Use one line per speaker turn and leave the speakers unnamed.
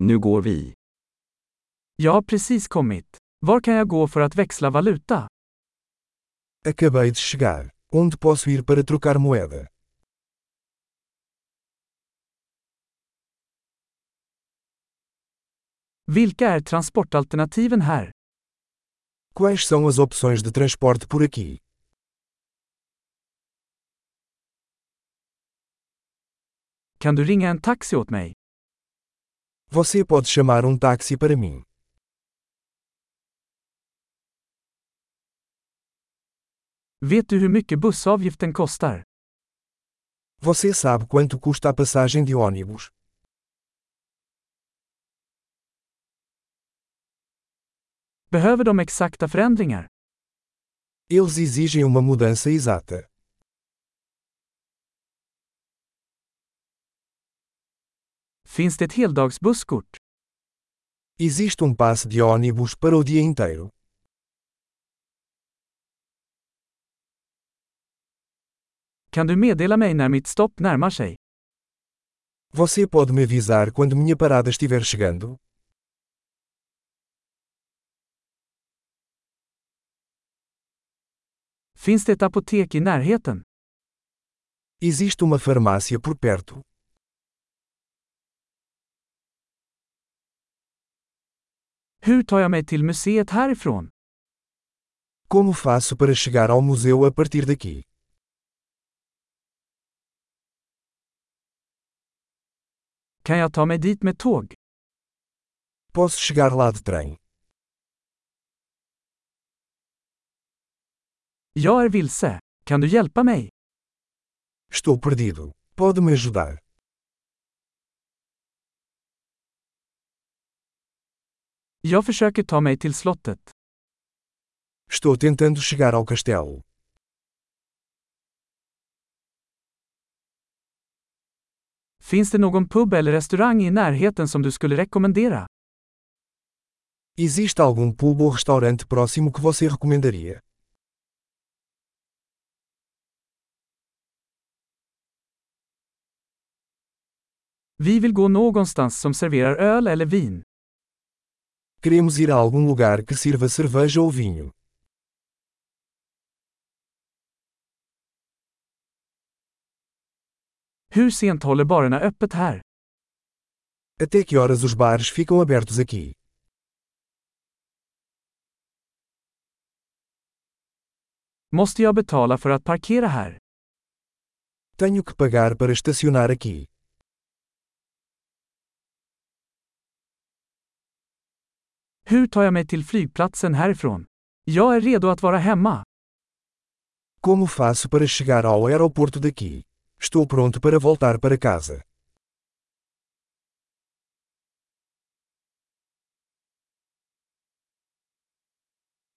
Nu går vi.
Jag har precis kommit. Var kan jag gå för att växla valuta?
Acabei de chegar. Onde posso ir para trocar moeda?
Vilka är transportalternativen här?
Quais são as opções de transporte por aqui?
Kan du ringa en taxi åt mig?
Você pode chamar um táxi para mim.
Vet du hur mycket bussavgiften kostar?
Você sabe quanto custa a passagem de ônibus?
Behöver de exakta förändringar?
Eles exigem uma mudança exata.
Finns det ett heldagsbusskort?
Existe um passe de ônibus para o dia inteiro.
Kan du meddela mig när mitt stopp närmar sig?
Você pode me avisar quando minha parada estiver chegando?
Finns det ett apotek i närheten?
Existe uma farmácia por perto.
Hur tar jag mig till museet härifrån?
Como faço para chegar ao museu a partir daqui?
Kan jag ta mig dit med tåg?
Posso chegar lá de trem.
Jag är vilse. Kan du hjälpa mig?
Estou perdido. Pode me ajudar?
Jag försöker ta mig till slottet.
Estou tentando chegar ao castelo.
Finns det någon pub eller restaurang i närheten som du skulle rekommendera?
Existe algum pub ou restaurante próximo que você recomendaria?
Vi vill gå någonstans som serverar öl eller vin.
Queremos ir a algum lugar que sirva cerveja ou vinho.
Hur sent håller barerna öppet här?
Até que horas os bares ficam abertos aqui?
Måste jag betala för att parkera här?
Tenho que pagar para estacionar aqui.
Hur tar jag mig till flygplatsen härifrån? Jag är redo att vara hemma.
Como faço para chegar ao aeroporto daqui? Estou pronto para voltar para casa.